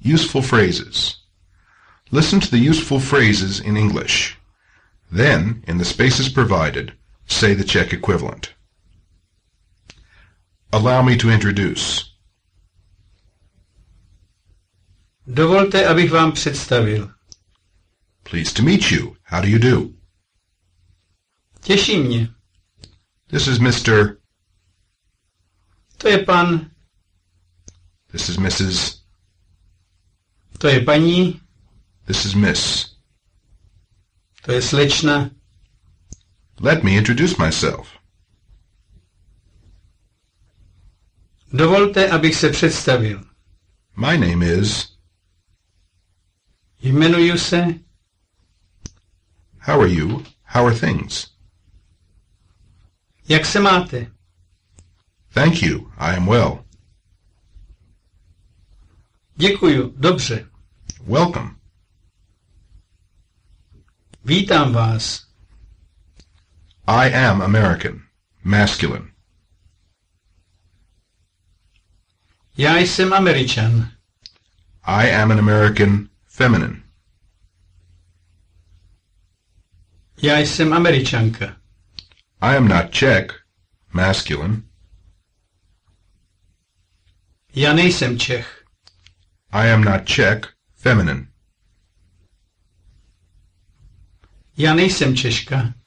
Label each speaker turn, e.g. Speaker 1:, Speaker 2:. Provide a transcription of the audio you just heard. Speaker 1: Useful Phrases. Listen to the useful phrases in English. Then, in the spaces provided, say the Czech equivalent. Allow me to introduce.
Speaker 2: Dovolte, abych vám představil.
Speaker 1: Pleased to meet you. How do you do?
Speaker 2: Těší mě.
Speaker 1: This is Mr.
Speaker 2: To je pan,
Speaker 1: This is Mrs.
Speaker 2: to je paní,
Speaker 1: This is Miss.
Speaker 2: to je slečna.
Speaker 1: Let me introduce myself.
Speaker 2: Dovolte, abych se představil.
Speaker 1: My name is.
Speaker 2: Jmenuji se,
Speaker 1: How are you? How are things?
Speaker 2: jak se máte?
Speaker 1: Thank you. I am well.
Speaker 2: Děkuju, dobře.
Speaker 1: Welcome.
Speaker 2: Vítám vás.
Speaker 1: I am American. Masculine.
Speaker 2: Já jsem Američan.
Speaker 1: I am an American. Feminine.
Speaker 2: Já jsem Američanka.
Speaker 1: I am not Czech. Masculine.
Speaker 2: Já nejsem Čech.
Speaker 1: I am not Czech. Feminine.
Speaker 2: Já nejsem Češka.